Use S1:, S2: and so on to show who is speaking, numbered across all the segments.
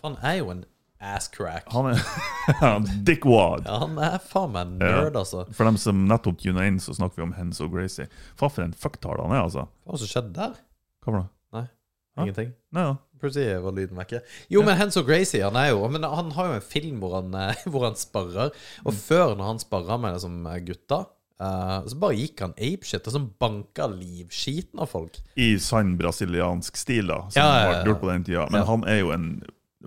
S1: For han er jo en asscrack.
S2: Han er dickwad.
S1: Han er faen meg nerd, altså.
S2: For dem som nettopp tunet inn, så snakker vi om Hens og Gracie. Faen, for en fucktale han er, altså.
S1: Hva var det som skjedde der?
S2: Hva var det? Hæ?
S1: Ingenting.
S2: Nei, ja.
S1: Plutselig var lyden vekke. Jo,
S2: Ja.
S1: men Hens og Gracie han, er jo, men han har jo en film hvor han, eh, hvor han sparrer. Og
S2: Mm.
S1: før, når han sparra med det som eh, gutta, eh, så bare gikk han apeshit og så banka livskiten av folk.
S2: I sann brasiliansk stil, da, som
S1: Ja, ja, ja.
S2: var gjort på den tida. Men
S1: Ja.
S2: han er jo en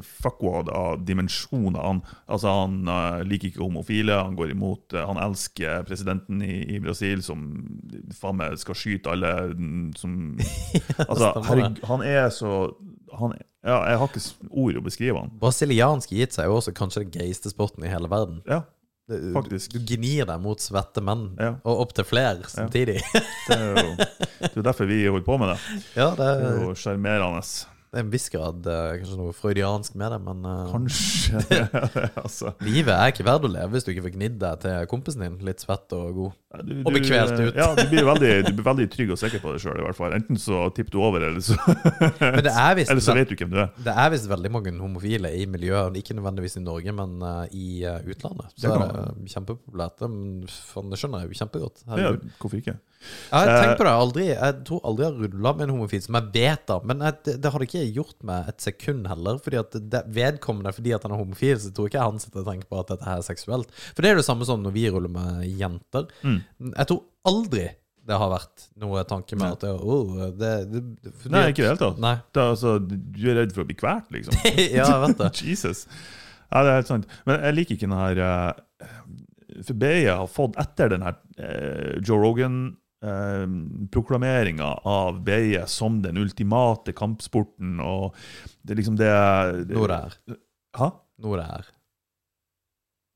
S2: fuckwad av dimensjoner. Han, altså, han eh, liker ikke homofile, han går imot eh, Han elsker presidenten i, i Brasil, som faen meg skal skyte alle mm, som Altså,
S1: stemmer
S2: herregud, han er så han, ja, Jeg har ikke s- ord å beskrive han.
S1: Brasiliansk gitt seg jo også kanskje den gayeste sporten i hele verden.
S2: Ja,
S1: Det- du-
S2: Faktisk.
S1: Du gnir deg mot svette menn,
S2: Ja.
S1: og opp til flere samtidig.
S2: det er jo det er jo derfor vi holder på med det.
S1: Ja, det
S2: Det er
S1: er,
S2: jo sjarmerende.
S1: det er en viss grad eh, kanskje noe freudiansk med det, men eh,
S2: Kanskje altså,
S1: livet er ikke verdt å leve hvis du ikke får gnidd deg til kompisen din, litt svett og god.
S2: du,
S1: Og blir kvelt ut.
S2: Ja, du blir, veldig, du blir veldig trygg og sikker på deg sjøl, i hvert fall. Enten så tipper du over, eller så,
S1: Men det er visst
S2: eller så
S1: vel-
S2: vet du hvem du er.
S1: Det er visst veldig mange homofile i miljøet, ikke nødvendigvis i Norge, men eh, i eh, utlandet. Så
S2: Det
S1: er
S2: kan
S1: det eh, kjempepopulært. Det- Men faen, det skjønner jeg jo kjempegodt.
S2: Ja,
S1: Herregud.
S2: hvorfor ikke?
S1: Jeg har tenkt
S2: Eh,
S1: på det aldri. Jeg tror aldri jeg har rulla med en homofil som jeg vet av. Men jeg, det, det hadde ikke jeg gjort med et sekund heller. Fordi at det, Vedkommende fordi at han er homofil, så tror ikke jeg han sitter og tenker på at dette her er seksuelt. For det er jo det samme som når vi ruller med jenter.
S2: Mm.
S1: Jeg tror aldri det har vært noe tanke med at det, oh, det, det, fordi
S2: Nei,
S1: at-
S2: ikke i det hele tatt.
S1: Nei.
S2: Det er altså, du er redd for å bli kvalt, liksom.
S1: ja, jeg vet det.
S2: Jesus. Ja, det er helt sant. Men jeg liker ikke den her eh, For BI har fått etter den her eh, Joe Rogan-proklameringa av BI som den ultimate kampsporten, og det er liksom det
S1: Noe det er.
S2: Hæ?
S1: Noe det er.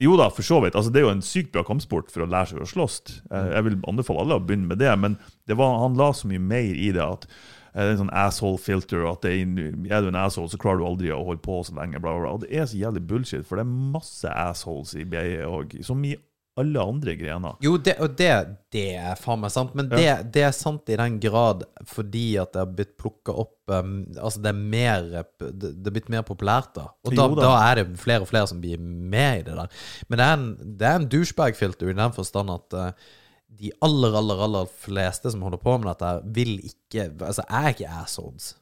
S2: Jo da, for så vidt. Altså, det er jo en sykt bra kampsport for å lære seg å slåss. Eh, Jeg vil anbefale alle å begynne med det, men det var, han la så mye mer i det at eh, det er en sånn asshole filter, og at det er, er du en asshole, så klarer du aldri å holde på så lenge, bla, bla, bla. Og det er så jævlig bullshit, for det er masse assholes i BI og som i alle andre grener.
S1: Jo, det, og det, det er faen meg sant, men det, det er sant i den grad fordi at det har blitt plukka opp um, Altså, det er mer det, det er blitt mer populært, da. Og da,
S2: Jo
S1: da.
S2: da.
S1: er det flere og flere som blir med i det der. Men det er en, det er en douchebag-filter i den forstand at uh, de aller, aller, aller fleste som holder på med dette, her, vil ikke Altså, er ikke assholes.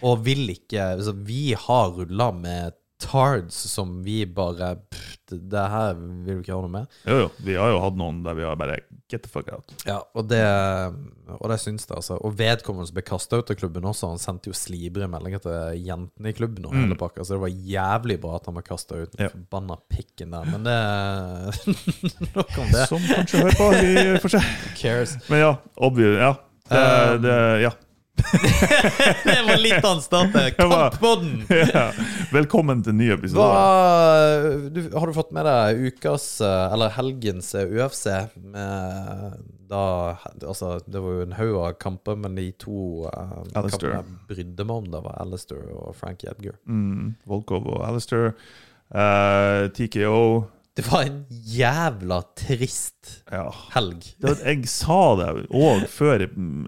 S1: Og vil ikke altså, Vi har rulla med tards som vi bare pff, det, det her vil du ikke ha noe med.
S2: Jo, jo, vi har jo hatt noen der vi har bare get the fuck out.
S1: Ja, og det, og det syns det, altså. Og vedkommende som ble kasta ut av klubben også, han sendte jo slibrige meldinger til jentene i klubben og hele pakka, så det var jævlig bra at han ble kasta ut. Den
S2: Mm. Ja.
S1: Forbanna pikken der. Men det Nok om det.
S2: Som kanskje hører på, vi får se.
S1: Who cares?
S2: Men ja, obvious, ja. Det, det, ja.
S1: Det var litt han startet.
S2: var-
S1: Kamppodden!
S2: ja. Velkommen til en ny episode.
S1: Hva, du, har du fått med deg ukas, eh, eller helgens eh, UFC? Med, da, altså, det var jo en haug av kamper, men de to eh, kampene
S2: Alistair.
S1: jeg brydde meg om, det var Alistair og Frankie Edgar.
S2: Mm, Volkov og Alistair. Eh, TKO.
S1: Det var en jævla trist
S2: Ja.
S1: helg.
S2: Det var, jeg sa det òg før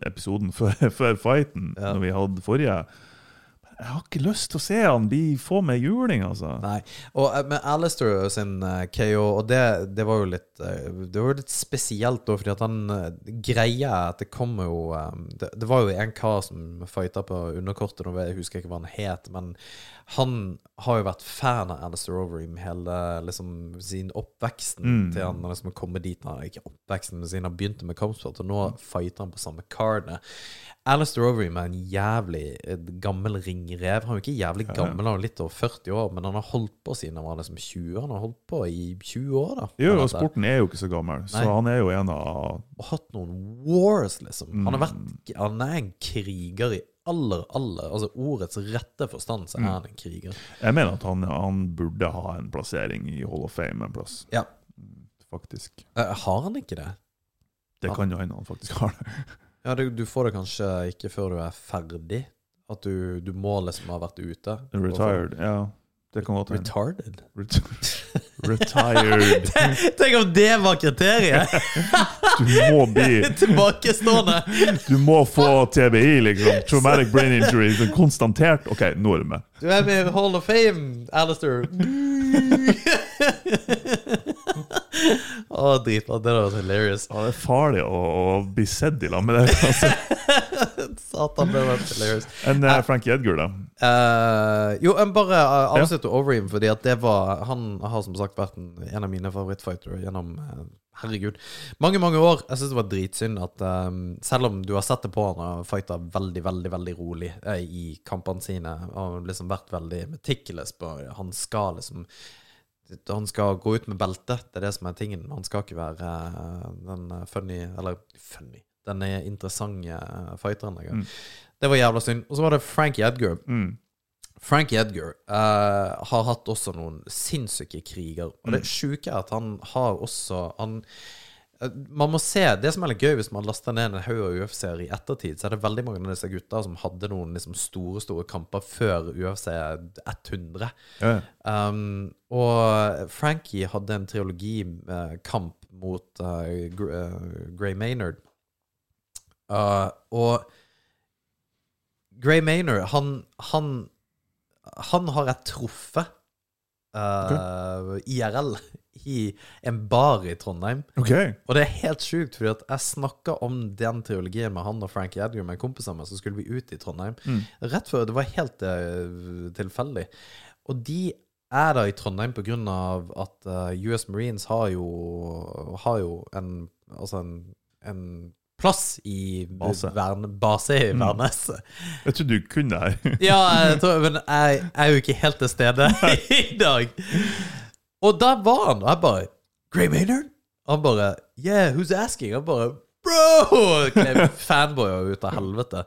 S2: episoden, før, før fighten,
S1: Ja.
S2: når vi hadde forrige. Jeg har ikke lyst til å se han bli få med juling, altså.
S1: Nei. Og eh, med Alistair sin eh, KO, og det, det var jo litt eh, Det var jo litt spesielt, da, fordi at han eh, Greia er at det kommer jo eh, det, det var jo en kar som fighta på underkortet, nå vet- jeg husker ikke hva han het, men han har jo vært fan av Alistair Overeem hele liksom, sin oppveksten til han har liksom kommet dit han Ikke oppveksten, men siden han begynte med kampsport, og nå fighter han på samme cardene. Alistair Overeem er en jævlig eh, gammel ringrev. Han er jo ikke jævlig gammel, han er litt over 40 år, men han har holdt på siden han var liksom 20. Han har holdt på i 20 år, da.
S2: Jo,
S1: med
S2: og
S1: dette.
S2: sporten er jo ikke så gammel, så han er jo en av
S1: Og hatt noen wars, liksom. Han,
S2: Mm.
S1: har vært, han er en kriger i aller, aller Altså ordets rette forstand,
S2: Mm.
S1: så er han en kriger.
S2: Jeg mener at han, han burde ha en plassering i Hall of Fame en plass,
S1: Ja.
S2: faktisk.
S1: Eh, Har han ikke det?
S2: Det kan jo hende han faktisk har det.
S1: Ja, du, du får det kanskje ikke før du er ferdig. At du, du må liksom ha vært ute.
S2: Retired, ja. Det kan godt hende.
S1: Retarded?
S2: Ret- Retired.
S1: Tenk om det var kriteriet!
S2: Du må bli
S1: Tilbakestående!
S2: Du må få TBI, liksom. Traumatic brain injury. liksom, Konstatert. OK, nå er det med.
S1: Du er med i Hall of Fame, Alistair. Å, dritbra. Det hadde vært hilarious.
S2: Ja, det er farlig å, å bli sett i lag med det. Altså.
S1: Satan, det hadde vært hilarious.
S2: Enn eh, Frankie Edgar, da.
S1: Eh, jo, jeg bare eh, avslutter Overeem, fordi at det var Han har som sagt vært en, en av mine favorittfightere gjennom eh, Herregud. Mange, mange år. Jeg syns det var dritsynd at eh, selv om du har sett det på han og fighta veldig, veldig veldig rolig eh, i kampene sine, og liksom vært veldig meticulous på Han skal liksom han skal gå ut med belte, det er det som er tingen. Han skal ikke være eh, den eh, funny Eller funny Den interessante eh, fighteren engang.
S2: Mm.
S1: Det var jævla synd. Og så var det Frankie Edgar.
S2: Mm.
S1: Frankie Edgar eh, har hatt også noen sinnssyke kriger. Og det sjuke er at han har også han, eh, Man må se Det som er litt gøy hvis man laster ned en haug av UFC-er i ettertid, så er det veldig mange av disse gutta som hadde noen liksom, store store kamper før UFC 100.
S2: Ja.
S1: Um, og Frankie hadde en triologikamp mot eh, Gr eh, Gray Maynard. Uh, og Gray Maynard, han, han, han har jeg truffet eh, IRL i en bar i Trondheim.
S2: OK.
S1: Og det er helt sjukt, fordi at jeg snakka om den teologien med han og Frankie Edgar med en kompis av meg, så skulle vi ut i Trondheim.
S2: Mm.
S1: Rett før det var helt eh, tilfeldig. Og de er da i Trondheim på grunn av at eh, US Marines har jo, har jo en Altså en, en plass i
S2: Base. Mm.
S1: Verne, base i Værnes.
S2: Jeg trodde du kunne det her.
S1: Ja, jeg tror, men jeg, jeg er jo ikke helt til stede i dag. Og da var han, og jeg bare Gray Maynard? Han bare Yeah, who's asking? Han bare Bro! Klev fanboyer ut av helvete.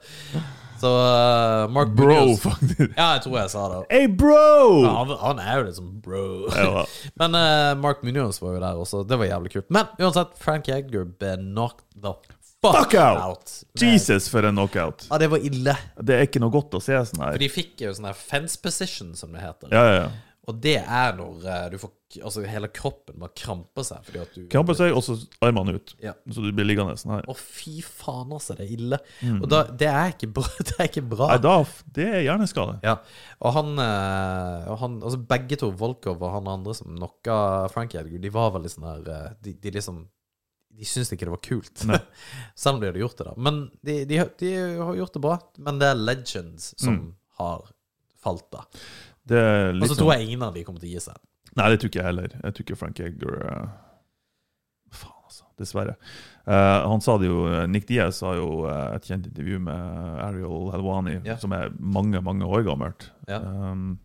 S1: Så eh, Mark
S2: Bro,
S1: Munoz-
S2: faktisk.
S1: Ja, jeg tror jeg sa det.
S2: Hey, bro!
S1: Han, han er jo liksom bro.
S2: Ja.
S1: Men eh, Mark Munoz var jo der også. Det var jævlig kult. Men uansett, Frank Egger ble knocked the fuck,
S2: Fuck out!
S1: out.
S2: Jesus, for en knockout.
S1: Ja, det var ille.
S2: Det er ikke noe godt å se sånn her.
S1: For de fikk jo sånn her fence position, som det heter.
S2: Ja, ja, ja.
S1: Og det er når eh, du får k- Altså, hele kroppen bare kramper seg fordi at du
S2: Kramper seg, og så armene ut.
S1: Ja.
S2: Så du blir liggende sånn her.
S1: Å, fy faen, altså. Det er ille. Og da, det er ikke bra. Det er ikke bra.
S2: Mm. Nei, da Det er hjerneskade.
S1: Ja. Og han, eh, og han Altså, begge to, Volkov og han andre som knocka Frankie Edgar, de var veldig sånn her eh, de, de liksom De syntes ikke det var kult,
S2: Nei.
S1: selv om de hadde gjort det, da. Men de, de, de har gjort det bra. Men det er legends som har falt, da.
S2: Det er
S1: Og
S2: Mm. litt
S1: så
S2: sånn-
S1: tror jeg ingen av de kommer til å gi seg.
S2: Nei, det tror ikke jeg heller. Jeg tror ikke Frank Edgar eh, Faen, altså. Dessverre. Eh, han sa det jo, Nick Diaz har jo eh, et kjent intervju med eh, Ariel Helwani,
S1: Ja.
S2: som er mange mange år gammelt.
S1: Ja.
S2: Um,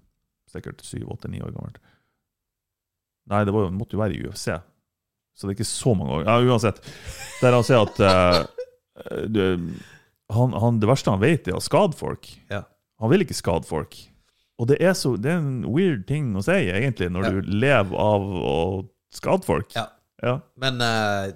S2: sikkert syv, åtte, ni år gammelt. Nei, det var jo, måtte jo være i UFC, så det er ikke så mange år. Ja, Uansett. Der han sier at eh, det- han, han, Det verste han vet, er å skade folk.
S1: Ja.
S2: Han vil ikke skade folk. Og det er, så, det er en weird ting å si, egentlig, når
S1: Ja.
S2: du lever av å skade folk.
S1: Ja.
S2: ja.
S1: Men eh,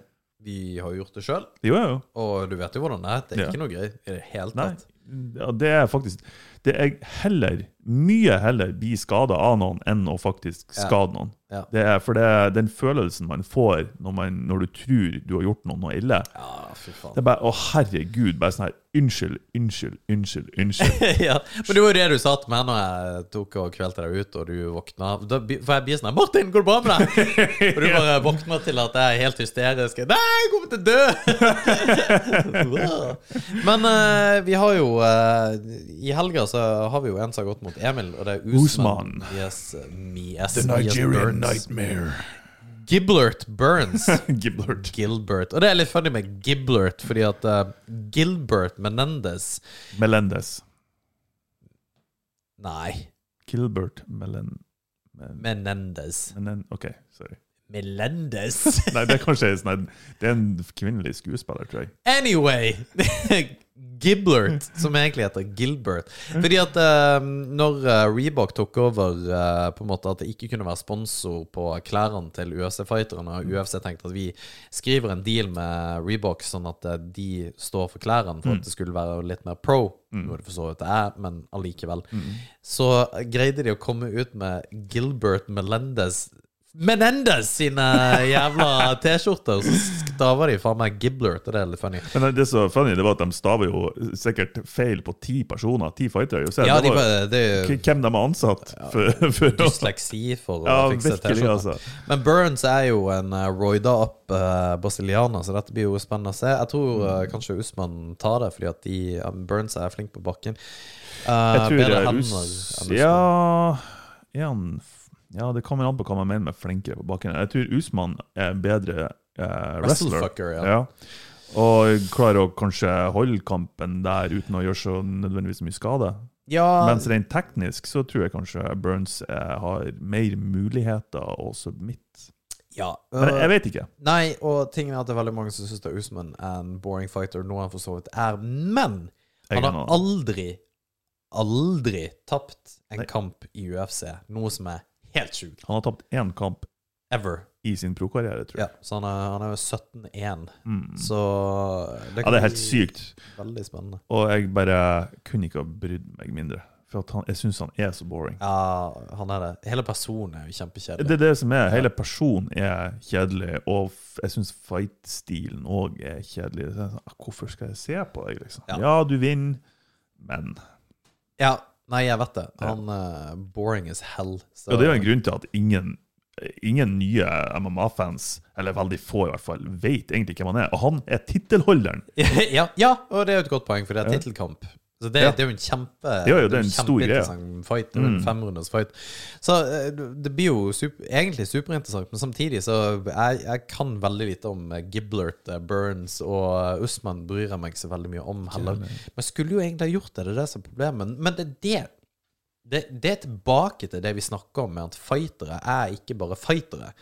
S1: vi har jo gjort det sjøl.
S2: Det gjør jeg jo.
S1: Og du vet jo hvordan det er. Det er
S2: Ja.
S1: ikke noe gøy i det hele
S2: Nei.
S1: tatt.
S2: Ja, det er faktisk Det er heller, mye heller, bli skada av noen enn å faktisk
S1: Ja.
S2: skade noen.
S1: Ja.
S2: Det er for det, er den følelsen man får når, man, når du tror du har gjort noen noe ille
S1: Ja, fy
S2: Det
S1: faen.
S2: er bare Å, herregud. Bare sånn her Unnskyld, unnskyld, unnskyld, unnskyld.
S1: ja. Men det var jo det du sa til meg når jeg tok og kvelte deg ut, og du våkna. Da, bi- for jeg blir sånn her, 'Martin, går det bra med deg?' Og du bare våkner til at jeg er helt hysterisk. 'Nei, jeg kommer til å dø!' Men eh, vi har jo eh, I helga så har vi jo en som har gått mot Emil, og det er Usman.
S2: Usman.
S1: Yes, yes,
S2: The Nigerian
S1: Burns.
S2: nightmare.
S1: Giblert Burns.
S2: Giblert.
S1: Gilbert. Og det er litt funny med Giblert, fordi at eh, Gilbert Menendez
S2: Melendez.
S1: Nei,
S2: Gilbert Melen... Men,
S1: Menendez.
S2: Menen, OK, sorry.
S1: Melendez.
S2: Nei, det er kanskje en sånn Det er en kvinnelig skuespiller, tror jeg.
S1: Anyway! Giblert, som egentlig heter Gilbert.
S2: Mm.
S1: Fordi at eh, når eh, Reebok tok over eh, på en måte at det ikke kunne være sponsor på klærne til UFC-fighterne,
S2: Mm.
S1: og UFC tenkte at vi skriver en deal med Reebok sånn at eh, de står for klærne,
S2: Mm.
S1: for at det skulle være litt mer pro, noe det for så vidt er, men allikevel,
S2: Mm.
S1: så eh, greide de å komme ut med Gilbert Melendez Menendez sine jævla T-skjorter, så staver de faen meg Giblert, og det er litt funny.
S2: Men det som er funny, det var at de staver jo sikkert feil på ti personer, ti fightere. Så
S1: Ja,
S2: det
S1: de
S2: var
S1: bare, det er jo
S2: k- hvem de har ansatt for, for å
S1: dysleksi for å
S2: Ja,
S1: fikse sånn.
S2: virkelig,
S1: T-skjortene.
S2: altså.
S1: Men Burns er jo en uh, roida opp eh, brasilianer, så dette blir jo spennende å se. Jeg tror
S2: Mm.
S1: eh, kanskje Usman tar det, fordi at de, eh, Burns er flink på bakken. Eh,
S2: Jeg tror
S1: bedre
S2: det er
S1: hender
S2: Us...
S1: enn Usman.
S2: Ja, er han f- ja, det kommer an på hva man mener med flinkere på bakken. Jeg tror Usman er en bedre eh, wrestler.
S1: Wrestlefucker, ja.
S2: Ja. Og klarer å kanskje holde kampen der uten å gjøre så nødvendigvis mye skade.
S1: Ja,
S2: Mens rent teknisk så tror jeg kanskje Burns eh, har mer muligheter å submit.
S1: ja.
S2: Men
S1: eh,
S2: jeg vet ikke.
S1: Nei, og tingen er at det er veldig mange som syns Usman er en boring fighter, noe han for så vidt er, men
S2: Jeg
S1: han
S2: kan ha-
S1: har aldri, aldri tapt en
S2: Nei.
S1: kamp i UFC, noe som er helt sjukt.
S2: Han har tapt én kamp
S1: Ever.
S2: i sin pro-karriere, tror jeg.
S1: Ja, så han er, han er jo 17-1,
S2: Mm.
S1: så
S2: ja, det er helt sykt.
S1: veldig spennende.
S2: Og jeg bare kunne ikke ha brydd meg mindre. For at han, jeg syns han er så boring.
S1: Ja, han er det. Hele personen er jo kjempekjedelig.
S2: Det er det som er. Hele personen er kjedelig, og f- jeg syns fight-stilen òg er kjedelig. Så jeg er sånn, Hvorfor skal jeg se på deg, liksom?
S1: Ja.
S2: Ja, du vinner, men
S1: Ja, nei, jeg vet det.
S2: Ja.
S1: Han er boring as hell. Så.
S2: Ja, det er jo en grunn til at ingen Ingen nye MMA-fans, eller veldig få i hvert fall, vet egentlig hvem han er. Og han er tittelholderen!
S1: ja, ja, og det er jo et godt poeng, for det er tittelkamp. Så det,
S2: Ja.
S1: det er jo en kjempe
S2: Ja, ja, det er en stor greie. Mm.
S1: kjempeinteressant fight. Det er En femrunders fight. Så eh, det blir jo sup- egentlig superinteressant, men samtidig så jeg, jeg kan veldig lite om eh, Giblert, eh, Burns og eh, Usman bryr jeg meg ikke så veldig mye om heller. Men jeg skulle jo egentlig ha gjort det, det er det som er problemet. Men- Men det er det det, det er tilbake til det vi snakker om, med at fightere er ikke bare fightere.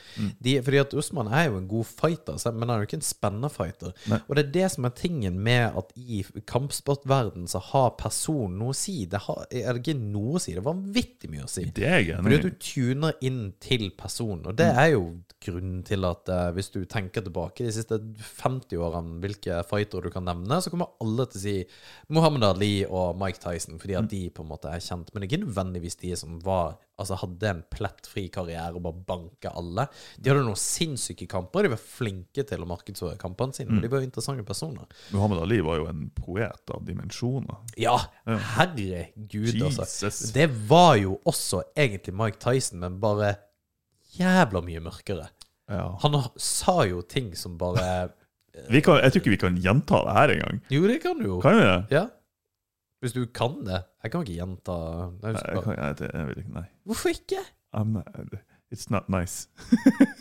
S1: De, fordi at Usman er jo en god fighter, så- men han er jo ikke en spennende fighter. Og det er det som er tingen med at i kampsportverden så har personen noe å si. Det har, er det ikke noe å si, det er vanvittig mye å si.
S2: Det er jeg enig
S1: Fordi at
S2: i.
S1: du tuner inn til personen, og det er jo grunnen til at eh, hvis du tenker tilbake de siste 50 årene, hvilke fightere du kan nevne, så kommer alle til å si Muhammad Ali og Mike Tyson, fordi at de på en måte er kjent. Men det er ikke nødvendigvis de som var Altså hadde en plettfri karriere og bare banka alle. De hadde noen sinnssyke kamper, og de var flinke til å markedsføre kampene sine. Og de var jo interessante personer.
S2: Muhammad Ali var jo en poet av dimensjoner.
S1: Ja, herregud, altså.
S2: Jesus.
S1: Det var jo også egentlig Mike Tyson, men bare jævla mye mørkere.
S2: Ja.
S1: Han har- sa jo ting som bare
S2: Vi kan, jeg tror ikke vi kan gjenta det her engang.
S1: Jo, det kan du jo.
S2: Kan vi det?
S1: Ja. Hvis du kan det. Jeg kan ikke gjenta jeg
S2: Nei,
S1: husker
S2: jeg,
S1: bare.
S2: kan, jeg, det- jeg vil ikke, nei.
S1: Hvorfor ikke?
S2: I'm not, it's not nice.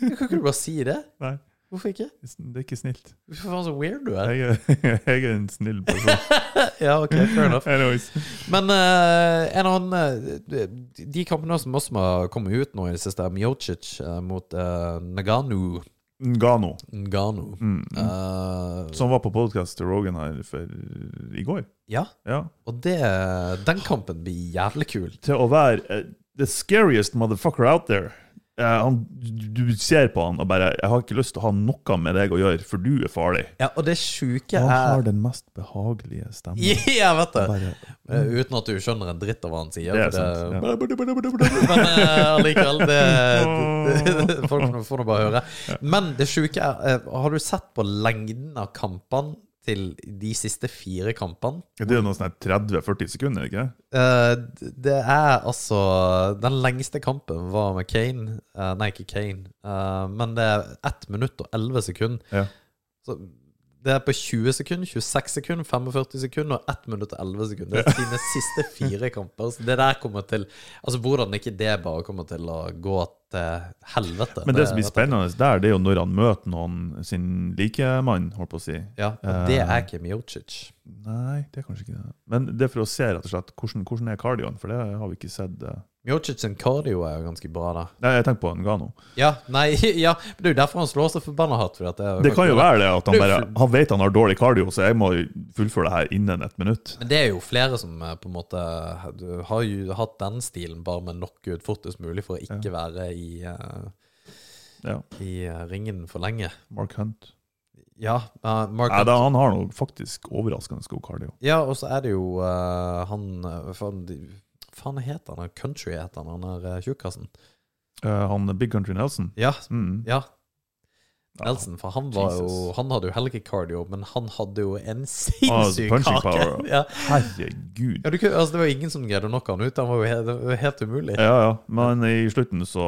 S1: Kan ikke du bare si det?
S2: Nei,
S1: Hvorfor ikke?
S2: it's- det er ikke snilt.
S1: Hvorfor faen så weird du er?
S2: Jeg er, jeg er en snill person.
S1: Ja, ok, fair enough.
S2: Anyways.
S1: Men eh, en annen eh, de- De kampene som også har kommet ut nå i det siste, er Miocic eh, mot eh, Nagano.
S2: Ngano,
S1: Nagano.
S2: Mm.
S1: Eh,
S2: som var på podcast til Rogan her for, i går.
S1: ja,
S2: Ja.
S1: og det, den kampen blir jævlig kul.
S2: Til å være eh, the scariest motherfucker out there. Eh, han, du du ser på han og bare Jeg har ikke lyst til å ha noe med deg å gjøre, for du er farlig.
S1: Ja, og det sjuke
S2: Han har
S1: er
S2: den mest behagelige stemmen.
S1: Ja, jeg vet det.
S2: Bare,
S1: Eh, Uten at du skjønner en dritt av hva han sier.
S2: det er
S1: for
S2: sant.
S1: det-
S2: Ja.
S1: Men eh, allikevel, det, det, det Folk får nå- får nå bare høre. Men det sjuke er eh, Har du sett på lengden av kampene til de siste fire kampene?
S2: Det er jo noe sånn her 30-40 sekunder, ikke
S1: Eh, det er altså Den lengste kampen var med Kane. Eh, nei, ikke Kane, Eh, men det er 1 minutt og 11 sekunder.
S2: Ja.
S1: Så det er på 20 sekunder, 26 sekunder, 45 sekunder og 1 minutt og 11 sekunder. Det er sine siste fire kamper. Så det der kommer til Altså hvordan ikke det bare kommer til å gå til helvete.
S2: Men det som
S1: vet
S2: blir
S1: jeg ikke.
S2: spennende der, det er jo når han møter noen sin likemann, holdt på å si.
S1: Ja, og det
S2: Eh.
S1: er ikke Miocic.
S2: Nei, det er kanskje ikke det. Men det er for å se rett og slett hvordan, hvordan er cardioen, for det har vi ikke sett. eh.
S1: Miocic sin cardio er jo ganske bra, da.
S2: Nei, jeg tenker på Ngano.
S1: Ja, nei, ja, men det er jo derfor han slår så forbanna hardt. For at det, er
S2: Det kan jo være det at han
S1: Det er
S2: bare
S1: jo
S2: Han vet han har dårlig cardio, så jeg må fullføre det her innen et minutt.
S1: Men det er jo flere som eh, på en måte du har jo hatt den stilen, bare med knockout fortest mulig for å ikke være i, eh,
S2: Ja,
S1: i eh, ringen for lenge.
S2: Mark Hunt.
S1: Ja, eh, Mark
S2: Nei, da, han har nå faktisk overraskende god cardio.
S1: Ja, og så er det jo eh, han eh, Faen, de- faen heter han? Country heter han, han der eh, tjukkasen.
S2: Eh, han Big Country Nelson
S1: Ja,
S2: mm.
S1: ja,
S2: Ja,
S1: Nelson, for han var jo
S2: Jesus.
S1: Han hadde jo helgekardio, men han hadde jo en
S2: altså,
S1: sinnssyk
S2: punching
S1: kake.
S2: power.
S1: Ja.
S2: Herregud.
S1: Ja, du, kunne- altså, det var jo ingen som greide å knocke han ut. Han var jo helt, det var jo helt umulig.
S2: Ja, ja. Men i slutten så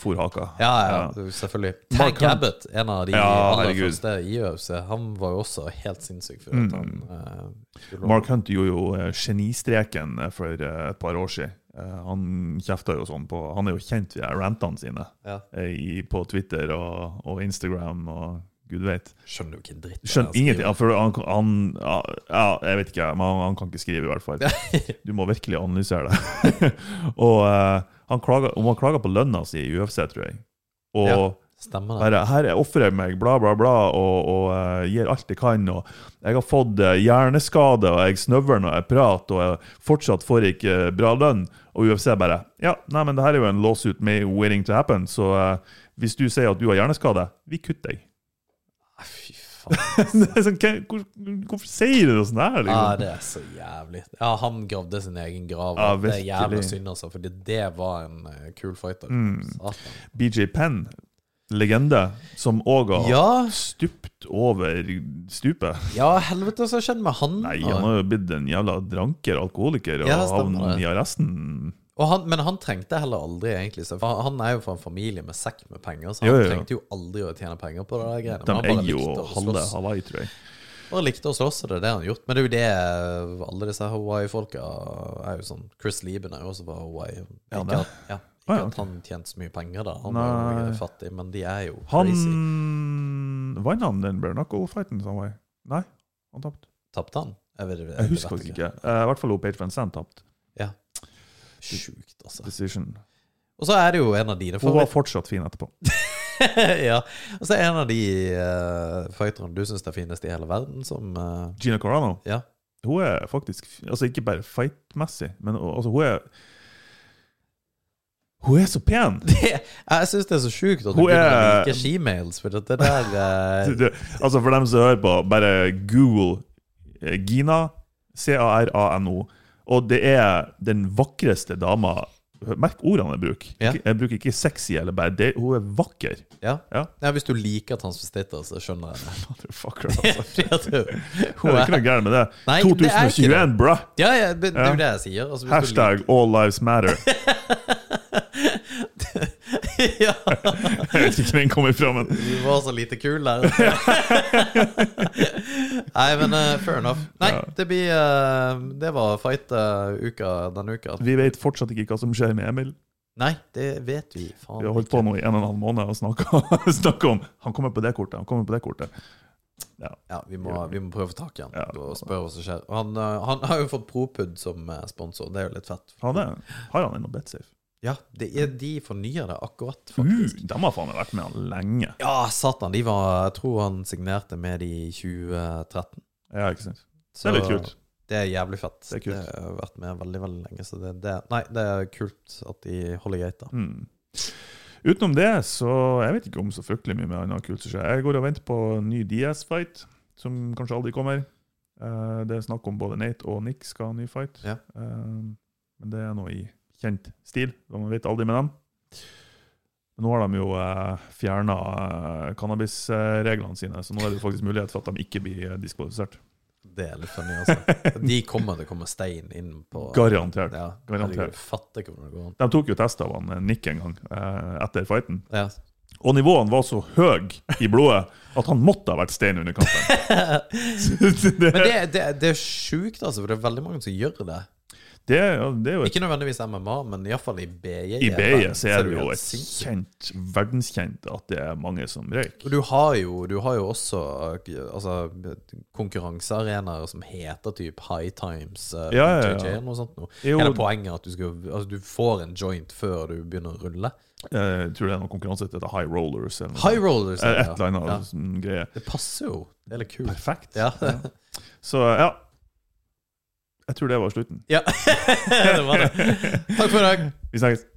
S2: for haka.
S1: Ja, ja, selvfølgelig.
S2: Mark
S1: Tag
S2: Hunt.
S1: Abbott, en av de
S2: Ja,
S1: aller
S2: herregud.
S1: første i UFC, han var jo også helt sinnssyk før
S2: Mm.
S1: at han eh, skulle-
S2: Mark Hunt gjorde jo eh, genistreken eh, for eh, et par år siden. Eh, Han kjefta jo sånn på Han er jo kjent via rantene sine
S1: Ja.
S2: eh, i, på Twitter og, og Instagram og gud vet.
S1: Skjønner jo ikke en dritt. av
S2: Skjønner
S1: det han
S2: ingenting. ja, For han, han ja, ja, jeg vet ikke, men han, han kan ikke skrive, i hvert fall. Du må virkelig analysere det. og eh, han klager, om han klager på lønna si i UFC, tror jeg. Og
S1: Ja. skriver. Stemmer det.
S2: her, her jeg ofrer jeg meg, bla, bla, bla, og, og eh, gir alt jeg kan. Og jeg har fått eh, hjerneskade, og jeg snøvler når jeg prater, og jeg fortsatt får jeg ikke eh, bra lønn. Og UFC bare Ja, nei, men det her er jo en lawsuit med waiting to happen, så eh, hvis du sier at du har hjerneskade, vi kutter deg.
S1: Ah, Fy faen.
S2: Det er sånn, hva- hvor, hvorfor sier du noe sånt
S1: Ja,
S2: her, liksom?
S1: det er så jævlig. Ja, han gravde sin egen grav.
S2: Ja,
S1: det er jævlig
S2: virkelig. Mm.
S1: synd, altså, fordi det var en eh, kul fighter. Satan.
S2: BJ Penn, legende, som òg har
S1: Ja,
S2: stupt over stupet.
S1: ja, helvete, så skjedde med han.
S2: Nei, han har jo blitt en jævla dranker, alkoholiker, og
S1: Ah. Ja, stemmer
S2: havnet
S1: det.
S2: i arresten.
S1: Og han, men han trengte heller aldri egentlig så, for Han er jo fra en familie med sekk med penger, så han
S2: Jo, jo, jo.
S1: trengte jo aldri å tjene penger på det der greiene.
S2: De
S1: men han bare
S2: eier jo
S1: likte å
S2: halve
S1: slåss.
S2: Hawaii, tror jeg.
S1: Bare likte å slåss, og det er det han har gjort. Men det er jo det alle disse Hawaii-folka er jo sånn. Chris Lieben er jo også fra Hawaii.
S2: Ja,
S1: Ikke,
S2: det.
S1: at, ja,
S2: Å,
S1: ikke
S2: ja, ok.
S1: at han tjente så mye penger da. Han var jo
S2: Nei.
S1: fattig, men de er jo
S2: Han
S1: crazy.
S2: Vant han den bare knuckle-fighten som var? Nei, han tapte.
S1: Tapte han? Jeg, vet, jeg,
S2: Jeg husker
S1: vet
S2: faktisk ikke. Eh, I hvert fall Page Van Zandt tapte.
S1: Sjukt, altså.
S2: Decision.
S1: Og så er det jo en av dine
S2: Hun var
S1: favoritter.
S2: fortsatt fin etterpå.
S1: ja. Og så er en av de eh, fighterne du syns er finest i hele verden, som eh,
S2: Gina Carano
S1: Ja.
S2: hun er faktisk Altså, ikke bare fight-messig, men altså, hun er Hun er så pen!
S1: det, Jeg syns det er så sjukt at du
S2: Hun
S1: begynner å
S2: er-
S1: like shemales, for det der eh,
S2: Du, altså, for dem som hører på, bare google eh, Gina, C-A-R-A-N-O, og det er den vakreste dama Merk ordene jeg bruker.
S1: Ja.
S2: Ikke- Jeg bruker ikke sexy eller bare det. Hun er vakker.
S1: ja.
S2: Ja.
S1: ja, hvis du liker transvestitter, så skjønner jeg det.
S2: Motherfucker, altså.
S1: Fordi at hun-
S2: Det
S1: hun
S2: er ikke
S1: er
S2: noe gærent med det.
S1: Nei, det er ikke
S2: 2021, bruh!
S1: Ja, ja, det, det er
S2: Ja.
S1: jo det jeg sier. Altså, hvis du
S2: Hashtag all lives matter.
S1: liker- ja,
S2: Jeg vet ikke hvor den kommer fra, men
S1: du var så lite kul der. Nei, men eh, fair enough. Nei,
S2: Ja.
S1: det blir eh, Det var fight-uka denne uka.
S2: vi vet fortsatt ikke hva som skjer med Emil.
S1: Nei, det vet vi
S2: Vi
S1: faen
S2: har holdt
S1: ikke.
S2: på nå i en og en halv måned og snakka om Han kommer på det kortet, han kommer på det kortet.
S1: Ja, vi må, vi må prøve tak i han
S2: Ja.
S1: og spørre hva som skjer. Og Han, eh, han har jo fått Propud som eh, sponsor, det er jo litt fett.
S2: Han er, har han ennå BetSafe?
S1: Ja, det er, de fornyer det akkurat,
S2: Uh,
S1: faktisk.
S2: de har faen meg vært med han lenge.
S1: Ja, satan. De var, jeg tror han signerte med de i 2013.
S2: Ja, ikke sant?
S1: Så
S2: Det er litt kult.
S1: Det er jævlig fett.
S2: Det er kult.
S1: Det har vært med veldig veldig lenge. Så det, det, nei, det er kult at de holder geita.
S2: Mm. Utenom det, så jeg vet ikke om så fryktelig mye med annet kult som skjer. Jeg går og venter på en ny DS-fight, som kanskje aldri kommer. Eh, det er snakk om både Nate og Nick skal ha en ny fight.
S1: Ja.
S2: Eh, men det er noe i kjent stil, og man vet aldri med dem. Nå har de jo uh, fjerna cannabisreglene sine, så nå er det jo faktisk mulighet for at de ikke blir eh, diskvalifisert.
S1: Det er litt funny, altså. De kommer til å komme stein inn på
S2: Garantert.
S1: Ja,
S2: garantert.
S1: herregud, fatter ikke hvordan det går an.
S2: De tok jo test av han eh, Nick en gang eh, etter fighten.
S1: Ja.
S2: Og nivåene var så høy i blodet at han måtte ha vært stein under kampen. Så det,
S1: Men det, det, det er sjukt, altså, for det er veldig mange som gjør det.
S2: Det, er- det er jo et,
S1: Ikke nødvendigvis MMA, men iallfall i E, BJ.
S2: I BI
S1: verden,
S2: så er det
S1: jo
S2: jo
S1: helt
S2: et
S1: sinnssykt.
S2: kjent, verdenskjent at det er mange som røyker.
S1: Og Du har jo, du har jo også eh, altså, konkurransearenaer som heter typ High Times eh,
S2: Ja, ja, ja.
S1: JJ og sånt noe.
S2: Jo,
S1: Hele poenget er at du, skal, altså, du får en joint før du begynner å rulle.
S2: jeg eh, tror det er noen konkurranse som heter High Rollers eller noe.
S1: High rollers!
S2: Eh,
S1: er det,
S2: Et eller annet
S1: Ja.
S2: sånn greie.
S1: Det passer jo. Det er litt kult.
S2: Perfekt.
S1: Ja.
S2: Så ja. Jeg tror det var slutten.
S1: ja. det var det. Takk for i dag.
S2: Vi snakkes.